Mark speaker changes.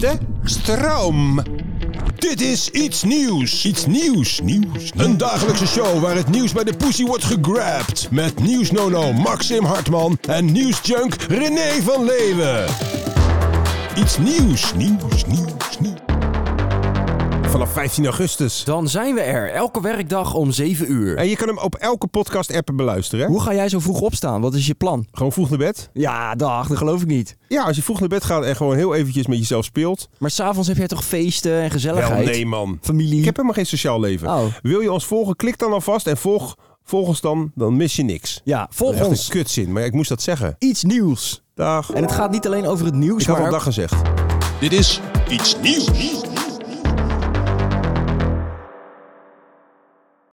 Speaker 1: De stroom. Dit is iets nieuws. Iets nieuws. Nieuws. Een dagelijkse show waar het nieuws bij de poesie wordt gegrabt. Met nieuwsnono Maxim Hartman en nieuwsjunk René van Leeuwen. Iets nieuws. Nieuws. Nieuws. Nieuws. Vanaf 15 augustus.
Speaker 2: Dan zijn we er, elke werkdag om 7 uur.
Speaker 1: En je kan hem op elke podcast-app beluisteren. hè?
Speaker 2: Hoe ga jij zo vroeg opstaan? Wat is je plan?
Speaker 1: Gewoon vroeg naar bed.
Speaker 2: Ja, dag, dat geloof ik niet.
Speaker 1: Ja, als je vroeg naar bed gaat en gewoon heel eventjes met jezelf speelt.
Speaker 2: Maar s'avonds heb jij toch feesten en
Speaker 1: Wel,
Speaker 2: gezelligheid?
Speaker 1: nee man.
Speaker 2: Familie?
Speaker 1: Ik heb helemaal geen sociaal leven.
Speaker 2: Oh.
Speaker 1: Wil je ons volgen? Klik dan alvast en volg, volg ons dan. Dan mis je niks.
Speaker 2: Ja, volg
Speaker 1: Echt
Speaker 2: ons.
Speaker 1: een kutzin, maar ik moest dat zeggen.
Speaker 2: Iets nieuws.
Speaker 1: Dag.
Speaker 2: En het gaat niet alleen over het nieuws,
Speaker 1: ik had al
Speaker 2: maar...
Speaker 1: dag gezegd.
Speaker 3: Dit is iets nieuws.